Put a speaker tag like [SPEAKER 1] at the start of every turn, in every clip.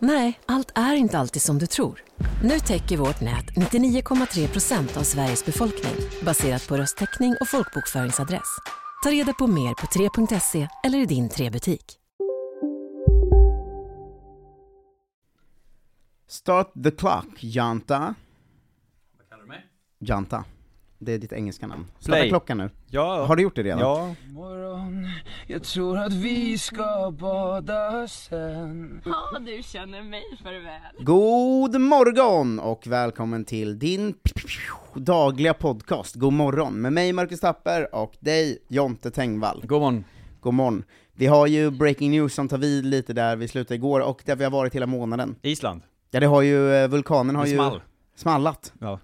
[SPEAKER 1] Nej, allt är inte alltid som du tror. Nu täcker vårt nät 99,3 procent av Sveriges befolkning baserat på röstteckning och folkbokföringsadress. Ta reda på mer på 3.se eller i din 3-butik.
[SPEAKER 2] Start the clock, Janta.
[SPEAKER 3] Vad kallar du mig?
[SPEAKER 2] Janta. Det är ditt engelska namn. Starta
[SPEAKER 3] Play.
[SPEAKER 2] klockan nu.
[SPEAKER 3] Ja.
[SPEAKER 2] Har du gjort det redan?
[SPEAKER 3] Ja.
[SPEAKER 4] morgon Jag tror att vi ska bada sen
[SPEAKER 5] Ja, du känner mig för väl.
[SPEAKER 2] God morgon och välkommen till din dagliga podcast God morgon med mig Marcus Tapper och dig Jonte Tengvall.
[SPEAKER 3] God morgon.
[SPEAKER 2] God morgon. Vi har ju breaking news som tar vid lite där vi slutade igår och där vi har varit hela månaden.
[SPEAKER 3] Island.
[SPEAKER 2] Ja det har ju, eh, vulkanen har
[SPEAKER 3] Det
[SPEAKER 2] ju
[SPEAKER 3] small.
[SPEAKER 2] smallat.
[SPEAKER 3] Ja.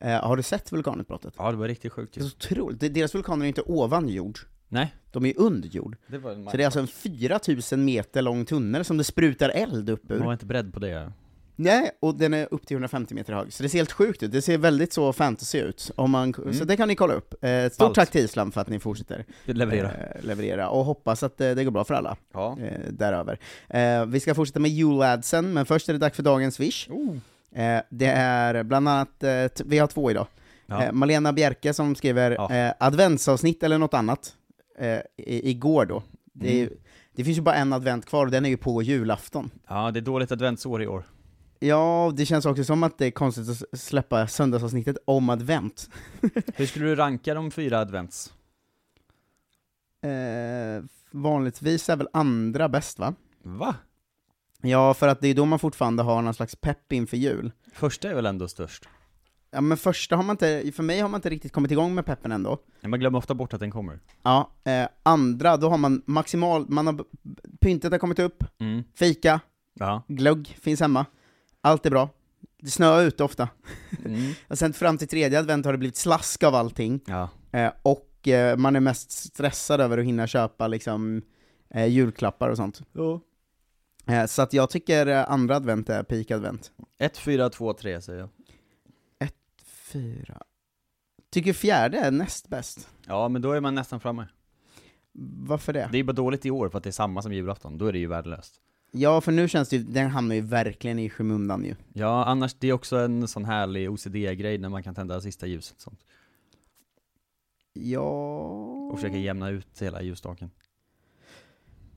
[SPEAKER 2] Eh, har du sett vulkanutbrottet?
[SPEAKER 3] ja, det var riktigt sjukt
[SPEAKER 2] Det är
[SPEAKER 3] ju.
[SPEAKER 2] så otroligt, De- deras vulkaner är inte ovan jord,
[SPEAKER 3] Nej.
[SPEAKER 2] de är under jord.
[SPEAKER 3] Det var en
[SPEAKER 2] Så det är alltså en 4000 meter lång tunnel som det sprutar eld upp ur.
[SPEAKER 3] Man var inte beredd på det.
[SPEAKER 2] Nej, och den är upp till 150 meter hög, så det ser helt sjukt ut, det ser väldigt så fantasy ut, om man, så det kan ni kolla upp. Eh, stort
[SPEAKER 3] Mm. Ballt.
[SPEAKER 2] tack till Island för att ni fortsätter
[SPEAKER 3] Det levererar.
[SPEAKER 2] eh, leverera, och hoppas att eh, det går bra för alla
[SPEAKER 3] Ja.
[SPEAKER 2] eh, däröver. Eh, vi ska fortsätta med juladsen, men först är det dags för dagens Swish.
[SPEAKER 3] Oh.
[SPEAKER 2] Eh, det är bland annat, eh, t- vi har två idag.
[SPEAKER 3] Ja.
[SPEAKER 2] Eh, Malena Bjerke som skriver
[SPEAKER 3] Ja.
[SPEAKER 2] eh, adventsavsnitt eller något annat, eh, i, igår då. Det, är, ju-
[SPEAKER 3] Mm.
[SPEAKER 2] det finns ju bara en advent kvar och den är ju på julafton.
[SPEAKER 3] Ja, det är dåligt adventsår i år.
[SPEAKER 2] Ja, det känns också som att det är konstigt att s- släppa söndagsavsnittet om advent.
[SPEAKER 3] Hur skulle du ranka de fyra advents?
[SPEAKER 2] Eh, vanligtvis är väl andra bäst va?
[SPEAKER 3] Va?
[SPEAKER 2] Ja, för att det är då man fortfarande har någon slags pepp inför jul.
[SPEAKER 3] Första är väl ändå störst?
[SPEAKER 2] Ja men första har man inte, för mig har man inte riktigt kommit igång med peppen ändå.
[SPEAKER 3] Nej, Man glömmer ofta bort att den kommer.
[SPEAKER 2] Ja, eh, andra, då har man maximalt, man har, b- b- pyntet har kommit upp,
[SPEAKER 3] Mm.
[SPEAKER 2] fika,
[SPEAKER 3] Ja.
[SPEAKER 2] glögg finns hemma, allt är bra. Det snöar ute ofta.
[SPEAKER 3] Mm.
[SPEAKER 2] Och sen fram till tredje advent har det blivit slask av allting.
[SPEAKER 3] Ja.
[SPEAKER 2] Eh, och eh, man är mest stressad över att hinna köpa liksom, eh, julklappar och sånt.
[SPEAKER 3] ja.
[SPEAKER 2] Eh, så att jag tycker eh, andra advent är peak advent.
[SPEAKER 3] Ett, fyra, två, tre säger jag.
[SPEAKER 2] Fyra. Tycker fjärde är näst bäst.
[SPEAKER 3] Ja, men då är man nästan framme.
[SPEAKER 2] Varför det?
[SPEAKER 3] Det är bara dåligt i år för att det är samma som julafton. Då är det ju värdelöst.
[SPEAKER 2] Ja, för nu känns det ju, den hamnar ju verkligen i skymundan ju.
[SPEAKER 3] Ja, annars, det är också en sån härlig OCD-grej när man kan tända sista ljuset och sånt.
[SPEAKER 2] Ja...
[SPEAKER 3] Och försöka
[SPEAKER 2] Mm.
[SPEAKER 3] jämna ut hela ljusstaken.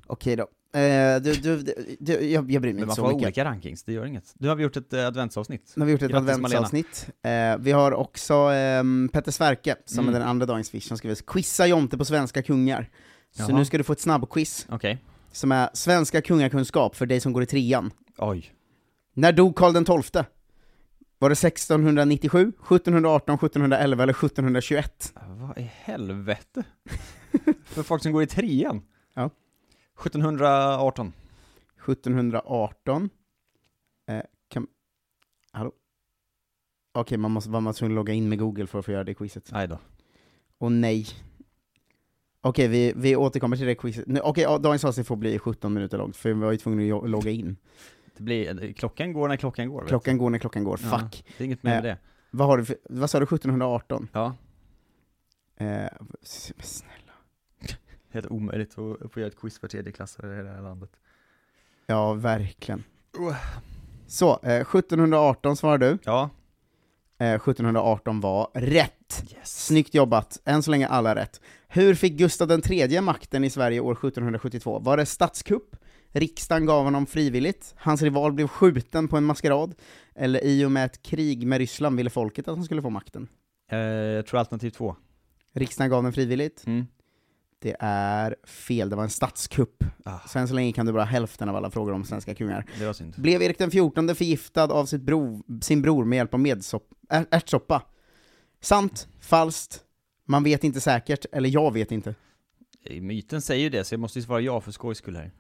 [SPEAKER 2] Okej då. Eh, du, du, du, du, jag, jag bryr mig
[SPEAKER 3] Men
[SPEAKER 2] inte
[SPEAKER 3] man
[SPEAKER 2] så
[SPEAKER 3] får ha
[SPEAKER 2] mycket.
[SPEAKER 3] olika rankings, det gör inget. Nu har vi gjort ett eh, adventsavsnitt.
[SPEAKER 2] Nu har vi gjort ett
[SPEAKER 3] Grattis,
[SPEAKER 2] adventsavsnitt. Eh, vi har också ehm, Petter Sverke, som
[SPEAKER 3] Mm.
[SPEAKER 2] är den andra dagens fish, som skriver 'Quizza Jonte på svenska kungar' Så
[SPEAKER 3] Jaha.
[SPEAKER 2] nu ska du få ett snabbquiz,
[SPEAKER 3] Okej.
[SPEAKER 2] som är svenska kungakunskap för dig som går i trean.
[SPEAKER 3] Oj.
[SPEAKER 2] När dog Karl den XII? Var det 1697, 1718, 1711 eller 1721?
[SPEAKER 3] Vad i helvete? För folk som går i trean?
[SPEAKER 2] Ja.
[SPEAKER 3] 1718.
[SPEAKER 2] 1718? Eh, kan... Hallå? Okej, man måste vara tvungen att logga in med Google för att få göra det quizet.
[SPEAKER 3] Nej då.
[SPEAKER 2] Och nej. Okej, vi, vi återkommer till det quizet. Nu- Okej, ja, dagens avsnitt får bli 17 minuter långt, för vi var ju tvungna att jo- logga in.
[SPEAKER 3] Det blir, eh, klockan går när klockan går. vet
[SPEAKER 2] Klockan går när klockan går,
[SPEAKER 3] du.
[SPEAKER 2] fuck. Eh,
[SPEAKER 3] Ja, det är inget mer med det.
[SPEAKER 2] Vad, har du för, vad sa du, 1718?
[SPEAKER 3] Ja.
[SPEAKER 2] Eh, s- snälla.
[SPEAKER 3] Helt omöjligt att få göra ett quiz för tredjeklassare i det här landet.
[SPEAKER 2] Ja, verkligen.
[SPEAKER 3] Uh.
[SPEAKER 2] Så, eh, 1718 svarar du.
[SPEAKER 3] Ja.
[SPEAKER 2] Eh, 1718 var rätt!
[SPEAKER 3] Yes.
[SPEAKER 2] Snyggt jobbat, än så länge alla rätt. Hur fick Gustav III makten i Sverige år 1772? Var det statskupp? Riksdagen gav honom frivilligt, hans rival blev skjuten på en maskerad, eller i och med ett krig med Ryssland ville folket att han skulle få makten?
[SPEAKER 3] Eh, jag tror alternativ två.
[SPEAKER 2] Riksdagen gav den frivilligt,
[SPEAKER 3] Mm.
[SPEAKER 2] Det är fel, det var en statskupp.
[SPEAKER 3] Ah.
[SPEAKER 2] Sen så länge kan du bara hälften av alla frågor om svenska kungar.
[SPEAKER 3] Det var synd.
[SPEAKER 2] Blev Erik den fjortonde förgiftad av sitt bro, sin bror med hjälp av medsopp, är, ärtsoppa? Sant? Falskt? Man vet inte säkert, eller jag vet inte.
[SPEAKER 3] Eh, Myten säger ju det, så jag måste ju svara ja för skojs skull här.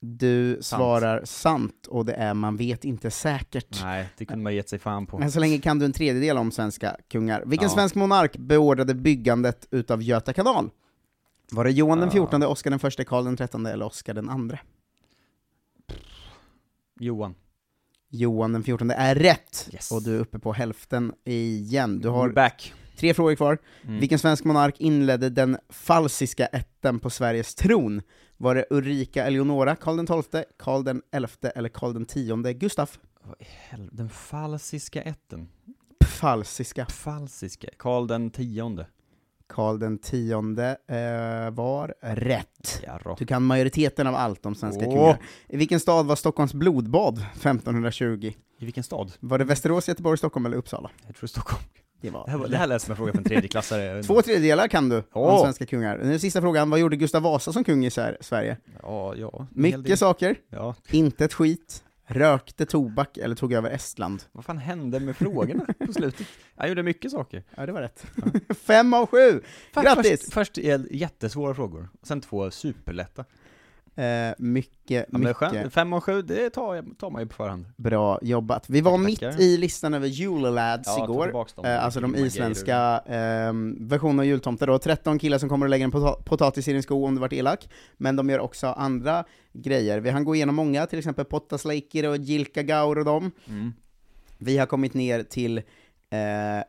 [SPEAKER 2] Du
[SPEAKER 3] Sant.
[SPEAKER 2] svarar sant, och det är man vet inte säkert.
[SPEAKER 3] Nej, det kunde man gett sig fan på.
[SPEAKER 2] Men så länge kan du en tredjedel om svenska kungar. Vilken
[SPEAKER 3] Ja.
[SPEAKER 2] svensk monark beordrade byggandet utav Göta kanal? Var det Johan den
[SPEAKER 3] Ja.
[SPEAKER 2] fjortonde, Oscar den förste, Karl den trettonde eller Oscar den andre?
[SPEAKER 3] Johan.
[SPEAKER 2] Johan den 14 är rätt!
[SPEAKER 3] Yes.
[SPEAKER 2] Och du är uppe på hälften igen. Du
[SPEAKER 3] We're
[SPEAKER 2] har
[SPEAKER 3] back.
[SPEAKER 2] tre frågor kvar.
[SPEAKER 3] Mm.
[SPEAKER 2] Vilken svensk monark inledde den falsiska ätten på Sveriges tron? Var det Ulrika Eleonora, Karl den XII, Karl den XI eller Karl den X Gustaf?
[SPEAKER 3] Hel- Den falsiska ätten.
[SPEAKER 2] Falsiska.
[SPEAKER 3] Falsiska. Karl den tionde.
[SPEAKER 2] Karl den X eh, var rätt.
[SPEAKER 3] Jarrå.
[SPEAKER 2] Du kan majoriteten av allt om svenska
[SPEAKER 3] Åh.
[SPEAKER 2] kungar. I vilken stad var Stockholms blodbad 1520?
[SPEAKER 3] I vilken stad?
[SPEAKER 2] Var det Västerås, Göteborg, Stockholm eller Uppsala?
[SPEAKER 3] Jag tror Stockholm.
[SPEAKER 2] Det var
[SPEAKER 3] Det här, var, det här lät som en fråga för en tredjeklassare.
[SPEAKER 2] Två tredjedelar kan du om
[SPEAKER 3] Åh.
[SPEAKER 2] svenska kungar. Den sista frågan, vad gjorde Gustav Vasa som kung i Sär- Sverige?
[SPEAKER 3] Ja, ja. En hel del.
[SPEAKER 2] Mycket saker,
[SPEAKER 3] Ja.
[SPEAKER 2] inte ett skit, rökte tobak eller tog över Estland.
[SPEAKER 3] Vad fan hände med frågorna på slutet? Han gjorde mycket saker.
[SPEAKER 2] Ja, det var rätt. Fem av sju!
[SPEAKER 3] Först-
[SPEAKER 2] Grattis!
[SPEAKER 3] Först, först är jättesvåra frågor, och sen två superlätta.
[SPEAKER 2] Eh, mycket,
[SPEAKER 3] Ja, men
[SPEAKER 2] mycket
[SPEAKER 3] skönt. Fem och sju, det tar, jag- tar man ju på förhand.
[SPEAKER 2] bra jobbat. Vi var
[SPEAKER 3] Tack,
[SPEAKER 2] mitt
[SPEAKER 3] tackar.
[SPEAKER 2] i listan över Julelads
[SPEAKER 3] Ja, ta
[SPEAKER 2] igår,
[SPEAKER 3] tillbaks dem.
[SPEAKER 2] eh, alltså de
[SPEAKER 3] Grymma
[SPEAKER 2] isländska eh, versionerna av jultomtar då. 13 killar som kommer och lägger en pota- potatis i din sko om du varit elak, men de gör också andra grejer. Vi hann gå igenom många, till exempel Pottaslaikir och Jilkagaur och dem.
[SPEAKER 3] grejer. Mm.
[SPEAKER 2] Vi har kommit ner till eh,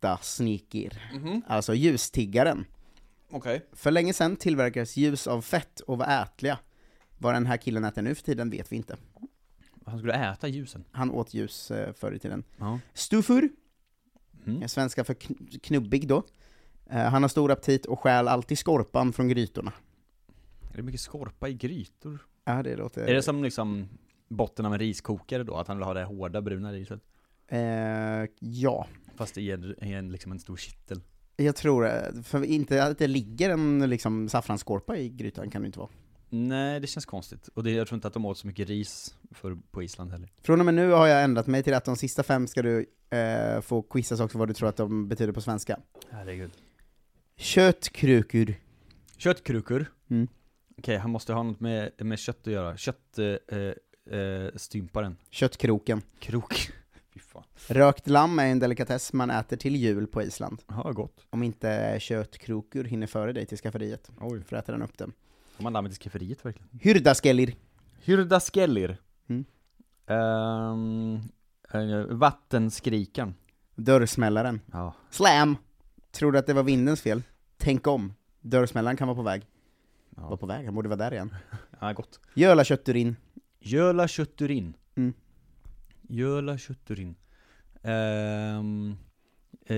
[SPEAKER 2] Kertasnikir, alltså ljustiggaren.
[SPEAKER 3] Okej.
[SPEAKER 2] För länge sedan tillverkades ljus av fett och var ätliga. Vad den här killen äter nu för tiden vet vi inte.
[SPEAKER 3] Han skulle äta ljusen.
[SPEAKER 2] Han åt ljus eh, förr i tiden.
[SPEAKER 3] Ja.
[SPEAKER 2] Stufur,
[SPEAKER 3] Mm.
[SPEAKER 2] svenska för kn- knubbig då. Eh, han har stor aptit och stjäl alltid skorpan från grytorna.
[SPEAKER 3] Är det mycket skorpa i grytor?
[SPEAKER 2] Ja, det låter...
[SPEAKER 3] Är det som liksom botten av en riskokare då? Att han vill ha det hårda bruna riset?
[SPEAKER 2] Eh, ja,
[SPEAKER 3] Fast i en, i en, liksom en stor kittel.
[SPEAKER 2] jag tror eh, För inte att det ligger en liksom, saffransskorpa i grytan kan det inte vara.
[SPEAKER 3] Nej, det känns konstigt. Och det, jag tror inte att de åt så mycket ris för, på Island heller.
[SPEAKER 2] Från och med nu har jag ändrat mig till att de sista fem ska du eh, få quizas också vad du tror att de betyder på svenska.
[SPEAKER 3] Herregud.
[SPEAKER 2] Köttkrukor.
[SPEAKER 3] Köttkrukor.
[SPEAKER 2] Mm.
[SPEAKER 3] Okej, han måste ha något med, med kött att göra. Kött... Eh, eh, stymparen.
[SPEAKER 2] Köttkroken.
[SPEAKER 3] Krok. Fy fan.
[SPEAKER 2] Rökt lamm är en delikatess man äter till jul på Island.
[SPEAKER 3] Ja, gott.
[SPEAKER 2] Om inte köttkrokor hinner före dig till skafferiet,
[SPEAKER 3] Oj.
[SPEAKER 2] för äter den upp dem.
[SPEAKER 3] Har man lammet i skafferiet verkligen?
[SPEAKER 2] Hyrdaskellir.
[SPEAKER 3] Hyrdaskellir.
[SPEAKER 2] Mm.
[SPEAKER 3] Ehm, eh, vattenskrikan.
[SPEAKER 2] Dörrsmällaren.
[SPEAKER 3] Ja.
[SPEAKER 2] Slam! Tror du att det var vindens fel? Tänk om. Dörrsmällaren kan vara på väg. Var
[SPEAKER 3] Ja,
[SPEAKER 2] på väg, han borde vara där igen.
[SPEAKER 3] ja gott.
[SPEAKER 2] Göla kötturin.
[SPEAKER 3] Jöla kötturin.
[SPEAKER 2] Mm.
[SPEAKER 3] Jöla kötturin. Ehm, eh,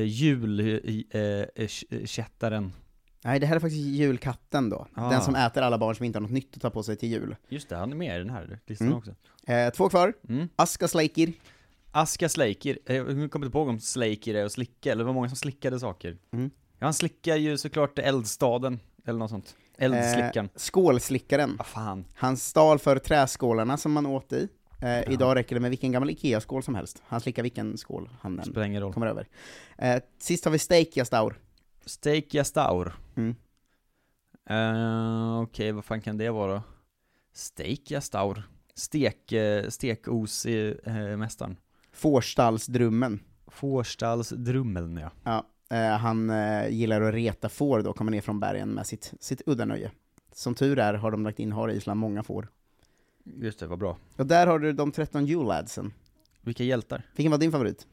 [SPEAKER 3] Julkättaren.
[SPEAKER 2] Nej, det här är faktiskt julkatten då.
[SPEAKER 3] Ah.
[SPEAKER 2] Den som äter alla barn som inte har något nytt att ta på sig till jul.
[SPEAKER 3] Just det, han är med i den här listan
[SPEAKER 2] Mm.
[SPEAKER 3] också.
[SPEAKER 2] Eh, två kvar.
[SPEAKER 3] Mm.
[SPEAKER 2] Aska Sleikir.
[SPEAKER 3] Aska Sleikir, Eh, jag kommer inte ihåg om Sleikir är att slicka, eller det var många som slickade saker.
[SPEAKER 2] Mm.
[SPEAKER 3] Ja, han slickar ju såklart eldstaden, eller något sånt. Eldslickaren.
[SPEAKER 2] Eh, skålslickaren.
[SPEAKER 3] Vad fan.
[SPEAKER 2] Han stal för träskålarna som man åt i. Eh, Idag räcker det med vilken gammal IKEA-skål som helst. Han slickar vilken skål han än
[SPEAKER 3] Spelar ingen roll.
[SPEAKER 2] kommer över. Eh, sist har vi Steikjastaur.
[SPEAKER 3] Steikjastaur.
[SPEAKER 2] Mm.
[SPEAKER 3] Eh, Okej, vad fan kan det vara? Steikjastaur. Stek, eh, stekos i eh, mästaren.
[SPEAKER 2] Fårstallsdrummen.
[SPEAKER 3] Fårstalsdrummeln ja.
[SPEAKER 2] Ja, eh, han eh, gillar att reta får då, kommer ner från bergen med sitt, sitt udda nöje. Som tur är har de lagt in, har Island många får.
[SPEAKER 3] Just det, vad bra.
[SPEAKER 2] Och där har du de 13 juladsen.
[SPEAKER 3] Vilka hjältar.
[SPEAKER 2] Vilken var din favorit?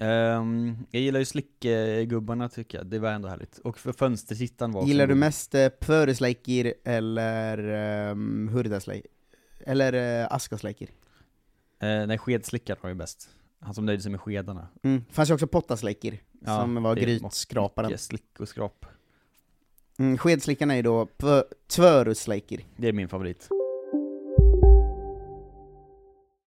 [SPEAKER 3] Ehm, jag gillar ju slickgubbarna tycker jag, det var ändå härligt. Och för fönstersittaren var också
[SPEAKER 2] Gillar du
[SPEAKER 3] god.
[SPEAKER 2] mest eh, Pöresleikir eller um, Hurdasleikir? Eller eh, Askasleikir?
[SPEAKER 3] Eh, nej, skedslickaren var ju bäst. Han som nöjde sig med skedarna.
[SPEAKER 2] Mm. Fanns ju också Pottasleikir,
[SPEAKER 3] Ja,
[SPEAKER 2] som var
[SPEAKER 3] det är
[SPEAKER 2] grytskraparen.
[SPEAKER 3] Mycket slick och skrap.
[SPEAKER 2] Mm, skedslickan är ju då pö- Tvörusleikir.
[SPEAKER 3] Det är min favorit.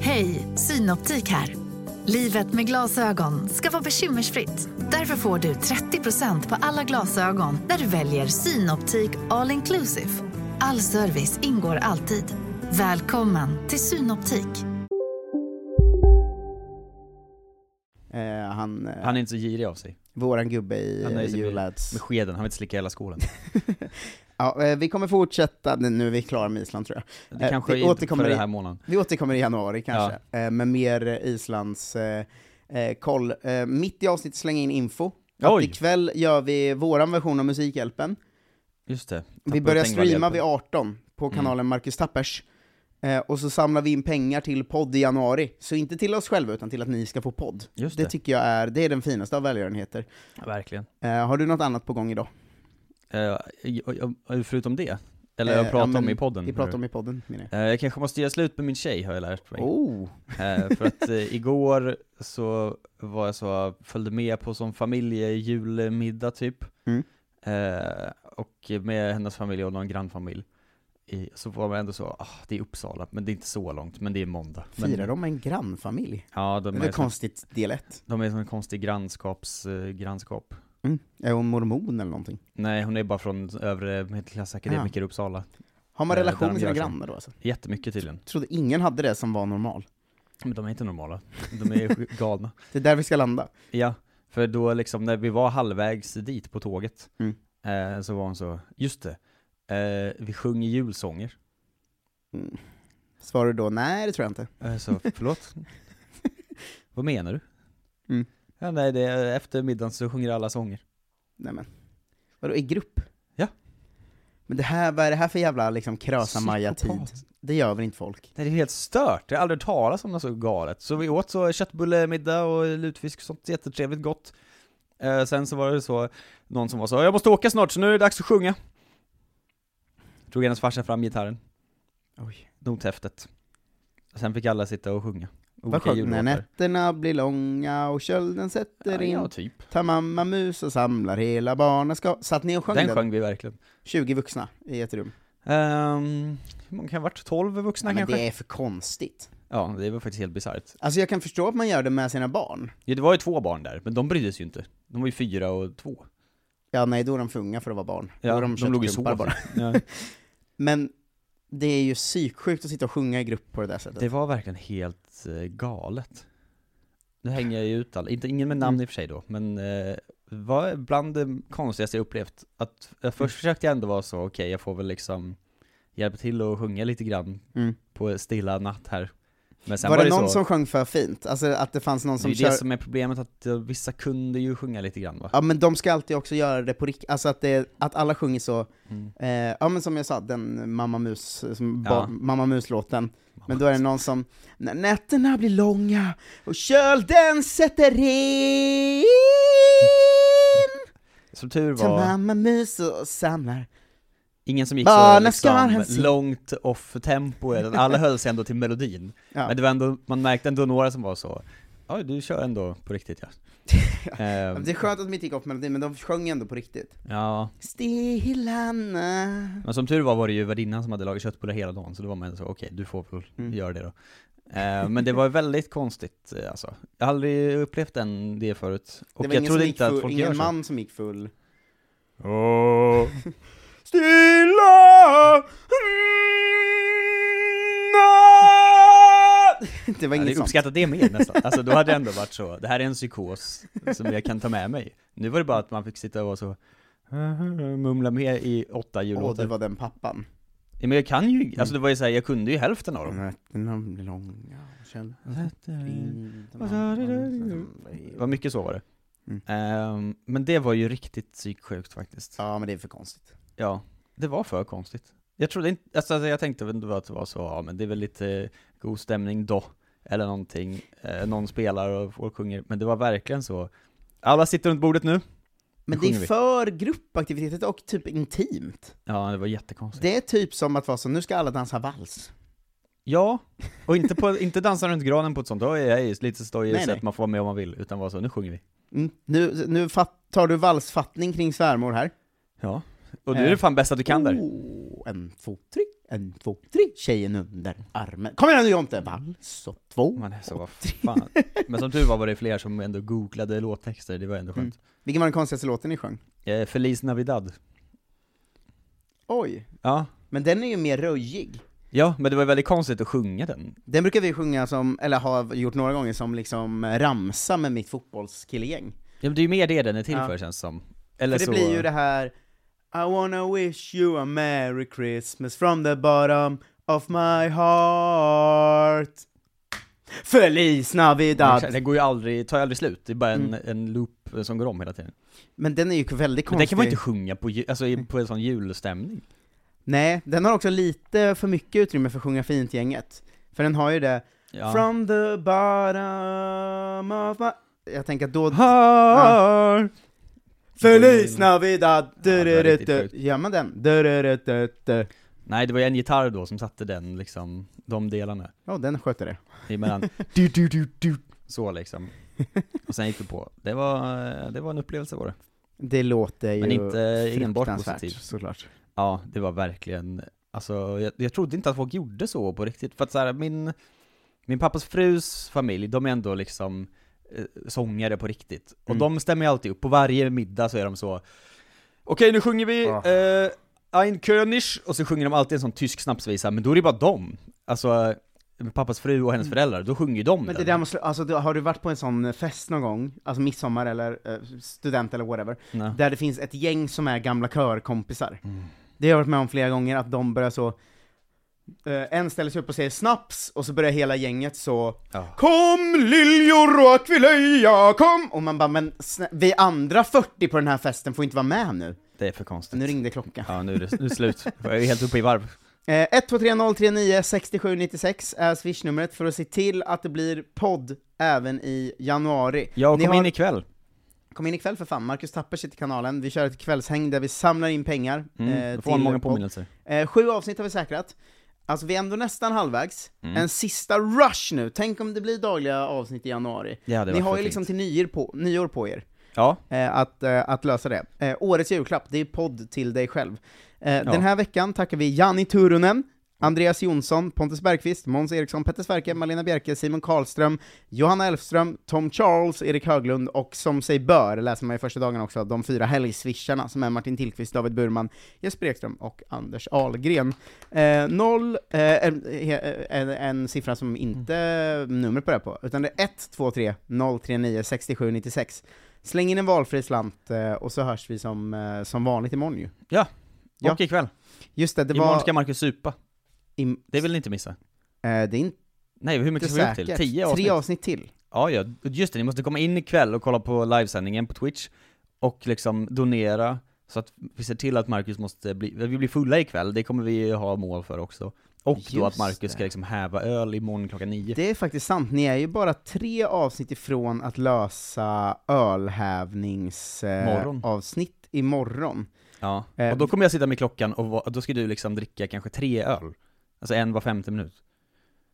[SPEAKER 6] Hej, Synoptik här. Livet med glasögon ska vara bekymmersfritt. Därför får du 30% på alla glasögon när du väljer Synoptik All Inclusive. All service ingår alltid. Välkommen till Synoptik.
[SPEAKER 2] Eh, han, eh,
[SPEAKER 3] Han är inte så girig av sig.
[SPEAKER 2] våran gubbe i
[SPEAKER 3] Han
[SPEAKER 2] eh,
[SPEAKER 3] nöjer sig med-
[SPEAKER 2] You Lads.
[SPEAKER 3] Med skeden, han vill inte slicka hela skålen.
[SPEAKER 2] Ja, eh, vi kommer fortsätta, nej, nu är vi klara med Island tror jag.
[SPEAKER 3] Det
[SPEAKER 2] Eh,
[SPEAKER 3] kanske
[SPEAKER 2] vi
[SPEAKER 3] inte för
[SPEAKER 2] återkommer
[SPEAKER 3] den
[SPEAKER 2] i-
[SPEAKER 3] här månaden.
[SPEAKER 2] Vi återkommer i januari kanske, eh, med mer eh, Islands eh, eh, koll. Eh, mitt i avsnittet slänger in info. Att
[SPEAKER 3] Oj.
[SPEAKER 2] ikväll gör vi våran version av Musikhjälpen.
[SPEAKER 3] Just det.
[SPEAKER 2] Vi börjar streama vid 18 på
[SPEAKER 3] Mm.
[SPEAKER 2] kanalen Marcus Tappers. Eh, och så samlar vi in pengar till podd i januari. Så inte till oss själva, utan till att ni ska få podd.
[SPEAKER 3] Just
[SPEAKER 2] Det
[SPEAKER 3] det.
[SPEAKER 2] tycker jag är, det är den finaste av välgörenheter.
[SPEAKER 3] Verkligen.
[SPEAKER 2] Eh, har du något annat på gång idag?
[SPEAKER 3] Eh, jag- jag- Förutom det? Eller
[SPEAKER 2] Eh,
[SPEAKER 3] jag pratar
[SPEAKER 2] ja, men
[SPEAKER 3] om i podden?
[SPEAKER 2] Vi pratar om i podden, menar jag.
[SPEAKER 3] Eh, Jag kanske måste göra slut med min tjej har jag lärt mig.
[SPEAKER 2] Oh!
[SPEAKER 3] Eh, För att eh, igår så var jag så, följde med på som familjejulmiddag typ.
[SPEAKER 2] Mm.
[SPEAKER 3] Eh, och med hennes familj och någon grannfamilj. I, så var man ändå så, ah, det är Uppsala, men det är inte så långt, men det är måndag. Men,
[SPEAKER 2] Firar de med en grannfamilj?
[SPEAKER 3] Ja, de
[SPEAKER 2] Det
[SPEAKER 3] är,
[SPEAKER 2] var
[SPEAKER 3] som,
[SPEAKER 2] konstigt, del ett.
[SPEAKER 3] de är som en konstig grannskaps, eh, grannskap.
[SPEAKER 2] Mm. Är hon mormon eller någonting?
[SPEAKER 3] Nej, hon är bara från övre medelklassakademiker
[SPEAKER 2] Ah.
[SPEAKER 3] i Uppsala.
[SPEAKER 2] Har man
[SPEAKER 3] Eh,
[SPEAKER 2] relation
[SPEAKER 3] där
[SPEAKER 2] med
[SPEAKER 3] de
[SPEAKER 2] sina
[SPEAKER 3] gör så.
[SPEAKER 2] grannar då alltså?
[SPEAKER 3] Jättemycket tydligen.
[SPEAKER 2] trodde ingen hade det som var normal.
[SPEAKER 3] Men de är inte normala, de är galna.
[SPEAKER 2] Det är där vi ska landa.
[SPEAKER 3] Ja, för då liksom när vi var halvvägs dit på tåget
[SPEAKER 2] Mm.
[SPEAKER 3] eh, så var hon så, just det, eh, vi sjunger julsånger.
[SPEAKER 2] Svarar du då, nej det tror jag inte.
[SPEAKER 3] Eh, så, förlåt? Vad menar du?
[SPEAKER 2] Mm.
[SPEAKER 3] Ja, nej, det är, efter middagen så sjunger alla sånger.
[SPEAKER 2] Nej men. Vadå, i grupp?
[SPEAKER 3] Ja.
[SPEAKER 2] Men det här, vad är det här för jävla liksom krösa-maja-tid?
[SPEAKER 3] Psykopat.
[SPEAKER 2] Det gör väl inte folk?
[SPEAKER 3] Nej, det är helt stört, jag har aldrig hört talas om något så galet. Så vi åt så köttbullemiddag och lutfisk och sånt jättetrevligt gott. Eh, sen så var det så, någon som var så, jag måste åka snart så nu är det dags att sjunga. Drog hennes farsa fram gitarren.
[SPEAKER 2] Oj.
[SPEAKER 3] nothäftet. Sen fick alla sitta och sjunga.
[SPEAKER 2] Vad
[SPEAKER 3] Olika
[SPEAKER 2] skönt, när
[SPEAKER 3] jullåtar.
[SPEAKER 2] nätterna blir långa och kölden sätter in.
[SPEAKER 3] Ja, typ.
[SPEAKER 2] Ta mamma mus och samlar hela barnaskap. Satt ni och sjöng den?
[SPEAKER 3] Den sjöng vi verkligen.
[SPEAKER 2] 20 vuxna i ett rum.
[SPEAKER 3] Ehm, hur många kan det ha varit? 12 vuxna
[SPEAKER 2] Nej, men
[SPEAKER 3] kanske?
[SPEAKER 2] det är för konstigt.
[SPEAKER 3] Ja, det var faktiskt helt bisarrt.
[SPEAKER 2] Alltså jag kan förstå att man gör det med sina barn.
[SPEAKER 3] Ja, det var ju två barn där, men de brydde sig ju inte. De var ju fyra och två.
[SPEAKER 2] Ja, nej, då är de för unga för att vara barn. då
[SPEAKER 3] Ja,
[SPEAKER 2] är de,
[SPEAKER 3] de låg i
[SPEAKER 2] köttklumpar
[SPEAKER 3] soven.
[SPEAKER 2] bara.
[SPEAKER 3] Ja,
[SPEAKER 2] Men det är ju psyksjukt att sitta och sjunga i grupp på det där sättet.
[SPEAKER 3] det var verkligen helt eh, galet. Nu hänger jag ju ut alla, inte, ingen med
[SPEAKER 2] Mm.
[SPEAKER 3] namn i och för sig då, men eh, var bland det konstigaste jag upplevt. Att, eh, först försökte jag ändå vara så, okej jag får väl liksom hjälpa till och sjunga lite grann
[SPEAKER 2] Mm.
[SPEAKER 3] på stilla natt här. Men sen
[SPEAKER 2] var, det någon
[SPEAKER 3] så,
[SPEAKER 2] som sjöng för fint? Alltså att det fanns någon
[SPEAKER 3] det är
[SPEAKER 2] som
[SPEAKER 3] ju
[SPEAKER 2] kör...
[SPEAKER 3] det som är problemet, att eh, vissa kunde ju sjunga lite grann va?
[SPEAKER 2] Ja men de ska alltid också göra det på riktigt, alltså att, det, att alla sjunger så,
[SPEAKER 3] Mm.
[SPEAKER 2] eh, ja men som jag sa, den Mamma Mus, som
[SPEAKER 3] Ja.
[SPEAKER 2] ba, Mamma Mus-låten, men då är det någon som, när nätterna blir långa och kölden sätter in,
[SPEAKER 3] Som tur
[SPEAKER 2] ta
[SPEAKER 3] var,
[SPEAKER 2] Mamma Mus och samlar.
[SPEAKER 3] ingen som gick så
[SPEAKER 2] Barnen ska ha
[SPEAKER 3] liksom
[SPEAKER 2] hänsyn.
[SPEAKER 3] långt off tempo, utan alla höll sig ändå till melodin.
[SPEAKER 2] Ja.
[SPEAKER 3] Men det var ändå, man märkte ändå några som var så, ja du kör ändå på riktigt ja. Ehm,
[SPEAKER 2] Det är skönt att de inte gick upp melodin, men de sjöng ändå på riktigt.
[SPEAKER 3] ja,
[SPEAKER 2] Stilla natt.
[SPEAKER 3] men som tur var var det ju värdinnan som hade lagat köttbullar hela dagen, så då var man ändå så, okej du får väl
[SPEAKER 2] Mm.
[SPEAKER 3] göra det då. Ehm, men det var väldigt konstigt eh, alltså. Jag har aldrig upplevt en det förut. Och
[SPEAKER 2] det var
[SPEAKER 3] jag
[SPEAKER 2] ingen
[SPEAKER 3] trodde
[SPEAKER 2] som gick
[SPEAKER 3] inte
[SPEAKER 2] full,
[SPEAKER 3] att folk
[SPEAKER 2] ingen
[SPEAKER 3] gör så.
[SPEAKER 2] man som gick full.
[SPEAKER 3] Åh.
[SPEAKER 2] Stilla Mm. Det
[SPEAKER 3] Jag
[SPEAKER 2] var inget
[SPEAKER 3] hade
[SPEAKER 2] sånt.
[SPEAKER 3] uppskattat det mer nästan. Alltså då hade jag ändå varit så, det här är en psykos som jag kan ta med mig. Nu var det bara att man fick sitta och vara så, mumla med i åtta
[SPEAKER 2] Åh,
[SPEAKER 3] jullåtar.
[SPEAKER 2] det var den pappan.
[SPEAKER 3] Ja, Men jag kan ju, alltså det var ju såhär, jag kunde ju hälften av dem.
[SPEAKER 2] Nätterna blir långa och känn
[SPEAKER 3] Mm. Det var mycket så var det.
[SPEAKER 2] Mm.
[SPEAKER 3] Ehm, men det var ju riktigt psyksjukt faktiskt.
[SPEAKER 2] Ja, men det är för konstigt.
[SPEAKER 3] Ja, det var för konstigt. Jag trodde inte, alltså jag tänkte väl inte att det var så, ja men det är väl lite god stämning då, eller någonting, eh, någon spelar och folk sjunger, men det var verkligen så, alla sitter runt bordet nu,
[SPEAKER 2] Men
[SPEAKER 3] Nu
[SPEAKER 2] det är
[SPEAKER 3] sjunger vi.
[SPEAKER 2] för gruppaktiviteter och typ intimt.
[SPEAKER 3] ja det var jättekonstigt.
[SPEAKER 2] Det är typ som att vara så, nu ska alla dansa vals.
[SPEAKER 3] Ja, och inte, på, inte dansa runt granen på ett sånt, då är jag ju lite stojig
[SPEAKER 2] Nej,
[SPEAKER 3] så
[SPEAKER 2] nej.
[SPEAKER 3] att man får vara med om man vill, utan vara så, nu sjunger vi.
[SPEAKER 2] Mm. Nu, nu fatt, tar du valsfattning kring svärmor här.
[SPEAKER 3] Ja. Och nu är det
[SPEAKER 2] Eh.
[SPEAKER 3] fan bäst att du kan där.
[SPEAKER 2] Oh, en, två, tre, en, två, tre, tjejen under armen. Kom igen nu Jonte! Vals och två.
[SPEAKER 3] Man är så, vad fan. Men som tur var var det fler som ändå googlade låttexter, det var ändå skönt.
[SPEAKER 2] Vilken var den konstigaste låten ni sjöng?
[SPEAKER 3] Eh, Feliz Navidad.
[SPEAKER 2] Oj,
[SPEAKER 3] Ja.
[SPEAKER 2] men den är ju mer röjig.
[SPEAKER 3] Ja, men det var väldigt konstigt att sjunga den.
[SPEAKER 2] Den brukar vi sjunga som, eller har gjort några gånger, som liksom ramsa med mitt fotbollskillegäng.
[SPEAKER 3] Ja, men det är ju mer det den är till
[SPEAKER 2] Ja.
[SPEAKER 3] för känns som. Eller
[SPEAKER 2] För det
[SPEAKER 3] så...
[SPEAKER 2] blir ju det här I wanna wish you a merry Christmas from the bottom of my heart Feliz
[SPEAKER 3] Exakt,
[SPEAKER 2] Navidad!
[SPEAKER 3] Den går ju aldrig, tar ju aldrig slut, det är bara en, en loop som går om hela tiden.
[SPEAKER 2] Men den är ju väldigt
[SPEAKER 3] Men den
[SPEAKER 2] konstig.
[SPEAKER 3] kan man ju inte sjunga på, ju- alltså, i- på en sån julstämning.
[SPEAKER 2] Nej, den har också lite för mycket utrymme för att sjunga fint-gänget. För den har ju det
[SPEAKER 3] Ja.
[SPEAKER 2] From the bottom of my... Jag tänker att då...
[SPEAKER 3] Heart.
[SPEAKER 2] Feliz Navidad!
[SPEAKER 3] det var riktigt
[SPEAKER 2] Du-du-du-du.
[SPEAKER 3] sjukt.
[SPEAKER 2] Gör man den? Du-du-du-du-du.
[SPEAKER 3] Nej, det var ju en gitarr då som satte den liksom, de delarna.
[SPEAKER 2] Ja, den skötte det.
[SPEAKER 3] Emellan, du, du, du, du. Så liksom. Och sen gick vi på. Det var, det var en upplevelse var det.
[SPEAKER 2] Det låter ju
[SPEAKER 3] Men inte eh, enbart
[SPEAKER 2] fruktansvärt,
[SPEAKER 3] positivt.
[SPEAKER 2] såklart.
[SPEAKER 3] Ja, det var verkligen, alltså jag, jag trodde inte att folk gjorde så på riktigt, för att så här, min, min pappas frus familj, de är ändå liksom eh, sångare på riktigt. Och
[SPEAKER 2] Mm.
[SPEAKER 3] de stämmer ju alltid upp, på varje middag så är de så Okej nu sjunger vi
[SPEAKER 2] Ah.
[SPEAKER 3] eh, Ein König, och så sjunger de alltid en sån tysk snapsvisa, men då är det bara dem. Alltså, eh, min pappas fru och hennes föräldrar, då sjunger de
[SPEAKER 2] Mm. Men det
[SPEAKER 3] den.
[SPEAKER 2] där måste, alltså, du- har du varit på en sån fest någon gång, alltså midsommar eller eh, student eller whatever,
[SPEAKER 3] Nej.
[SPEAKER 2] där det finns ett gäng som är gamla körkompisar?
[SPEAKER 3] Mm.
[SPEAKER 2] Det har jag varit med om flera gånger, att de börjar så, eh, en ställer sig upp och säger snaps, och så börjar hela gänget så
[SPEAKER 3] Ja.
[SPEAKER 2] Kom liljor och akvileja, kom! Och man bara, men snä- vi andra 40 på den här festen får inte vara med nu.
[SPEAKER 3] Det är för konstigt.
[SPEAKER 2] Nu ringde klockan.
[SPEAKER 3] Ja, nu är det, nu är det slut. Jag är helt uppe i varv.
[SPEAKER 2] Eh, 1230396796 är swishnumret för att se till att det blir podd även i januari.
[SPEAKER 3] Jag
[SPEAKER 2] Ni
[SPEAKER 3] kom
[SPEAKER 2] har-
[SPEAKER 3] in ikväll.
[SPEAKER 2] Kom in ikväll för fan, Marcus Tapper sitter i kanalen, vi kör ett kvällshäng där vi samlar in pengar
[SPEAKER 3] Mm,
[SPEAKER 2] eh,
[SPEAKER 3] då får man många
[SPEAKER 2] podd.
[SPEAKER 3] påminnelser.
[SPEAKER 2] Eh, sju avsnitt har vi säkrat, alltså vi är ändå nästan halvvägs,
[SPEAKER 3] Mm.
[SPEAKER 2] en sista rush nu, tänk om det blir dagliga avsnitt i januari.
[SPEAKER 3] Ja, det
[SPEAKER 2] Ni
[SPEAKER 3] var
[SPEAKER 2] har
[SPEAKER 3] för
[SPEAKER 2] ju liksom
[SPEAKER 3] fint.
[SPEAKER 2] till nyår på, nyår på er
[SPEAKER 3] Ja,
[SPEAKER 2] eh, att, eh, att lösa det. Eh, årets julklapp, det är podd till dig själv. Eh, Den här veckan tackar vi Jani Turunen, Andreas Jonsson, Pontus Bergqvist, Måns Eriksson, Petter Sverke, Malena Bjerke, Simon Karlström, Johanna Elfström, Tom Charles, Erik Höglund och som sig bör, läser man i första dagen också, de fyra helgswisharna som är Martin Tillqvist, David Burman, Jesper Ekström och Anders Ahlgren. Eh, noll, eh, en, en, en siffra som inte nummer på det här på, utan det är 123 039 6796. Släng in en valfri slant eh, och så hörs vi som, eh, som vanligt imorgon ju. Ja.
[SPEAKER 3] och ikväll.
[SPEAKER 2] Just det, det
[SPEAKER 3] Imorgon
[SPEAKER 2] var...
[SPEAKER 3] ska Marcus supa.
[SPEAKER 2] im-
[SPEAKER 3] Det vill ni inte missa.
[SPEAKER 2] eh, det är inte
[SPEAKER 3] Nej, hur mycket ska vi upp till?
[SPEAKER 2] säkert.
[SPEAKER 3] 10
[SPEAKER 2] Tre
[SPEAKER 3] avsnitt?
[SPEAKER 2] avsnitt till.
[SPEAKER 3] Ja, ja, just det, ni måste komma in ikväll och kolla på livesändningen på Twitch och liksom donera så att vi ser till att Marcus måste bli, vi blir fulla ikväll, det kommer vi ha mål för också. Och då att
[SPEAKER 2] Just
[SPEAKER 3] Marcus
[SPEAKER 2] det.
[SPEAKER 3] ska liksom häva öl imorgon klockan nio.
[SPEAKER 2] Det är faktiskt sant, ni är ju bara tre avsnitt ifrån att lösa
[SPEAKER 3] Morgon.
[SPEAKER 2] ölhävningsavsnitt imorgon.
[SPEAKER 3] Ja.
[SPEAKER 2] Eh,
[SPEAKER 3] Och då kommer jag sitta med klockan och va, då ska du liksom dricka kanske tre öl. Alltså en var femte minut.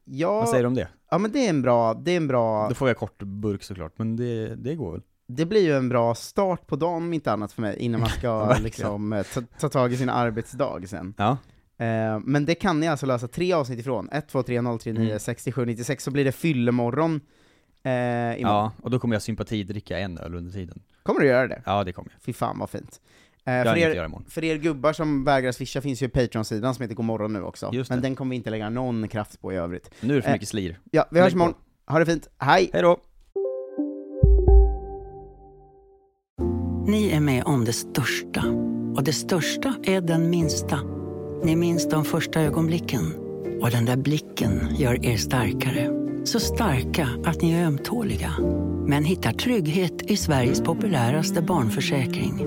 [SPEAKER 3] Vad säger
[SPEAKER 2] Ja,
[SPEAKER 3] du om det?
[SPEAKER 2] ja men det är en bra, det är en bra,
[SPEAKER 3] Då får jag kort burk såklart, men det, det går väl?
[SPEAKER 2] det blir ju en bra start på dagen om inte annat för mig, innan man ska
[SPEAKER 3] Verkligen.
[SPEAKER 2] liksom eh, ta, ta tag i sin arbetsdag sen.
[SPEAKER 3] Ja.
[SPEAKER 2] Eh, men det kan ni alltså lösa tre avsnitt ifrån, 1, 2, 3, 0, 3, 9,
[SPEAKER 3] Mm.
[SPEAKER 2] 67, 96, så blir det fyllemorgon eh, imorgon.
[SPEAKER 3] ja, och då kommer jag sympatidricka en öl under tiden.
[SPEAKER 2] Kommer du göra det?
[SPEAKER 3] Ja, det kommer jag.
[SPEAKER 2] Fy fan vad fint. Eh,
[SPEAKER 3] Jag har
[SPEAKER 2] för,
[SPEAKER 3] inget att
[SPEAKER 2] er,
[SPEAKER 3] göra imorgon.
[SPEAKER 2] för er gubbar som vägrar swisha finns ju Patreon-sidan som heter Godmorgon nu också,
[SPEAKER 3] Just
[SPEAKER 2] men
[SPEAKER 3] det.
[SPEAKER 2] den kommer vi inte lägga någon kraft på i övrigt.
[SPEAKER 3] Nu är det för
[SPEAKER 2] Eh,
[SPEAKER 3] mycket slir.
[SPEAKER 2] Ja, vi
[SPEAKER 3] Lägg
[SPEAKER 2] hörs
[SPEAKER 3] på.
[SPEAKER 2] imorgon, ha det fint, hej!
[SPEAKER 3] Hej då!
[SPEAKER 7] Ni är med om det största. Och det största är den minsta. Ni minns de första ögonblicken. Och den där blicken gör er starkare. Så starka att ni är ömtåliga. Men hittar trygghet i Sveriges populäraste barnförsäkring.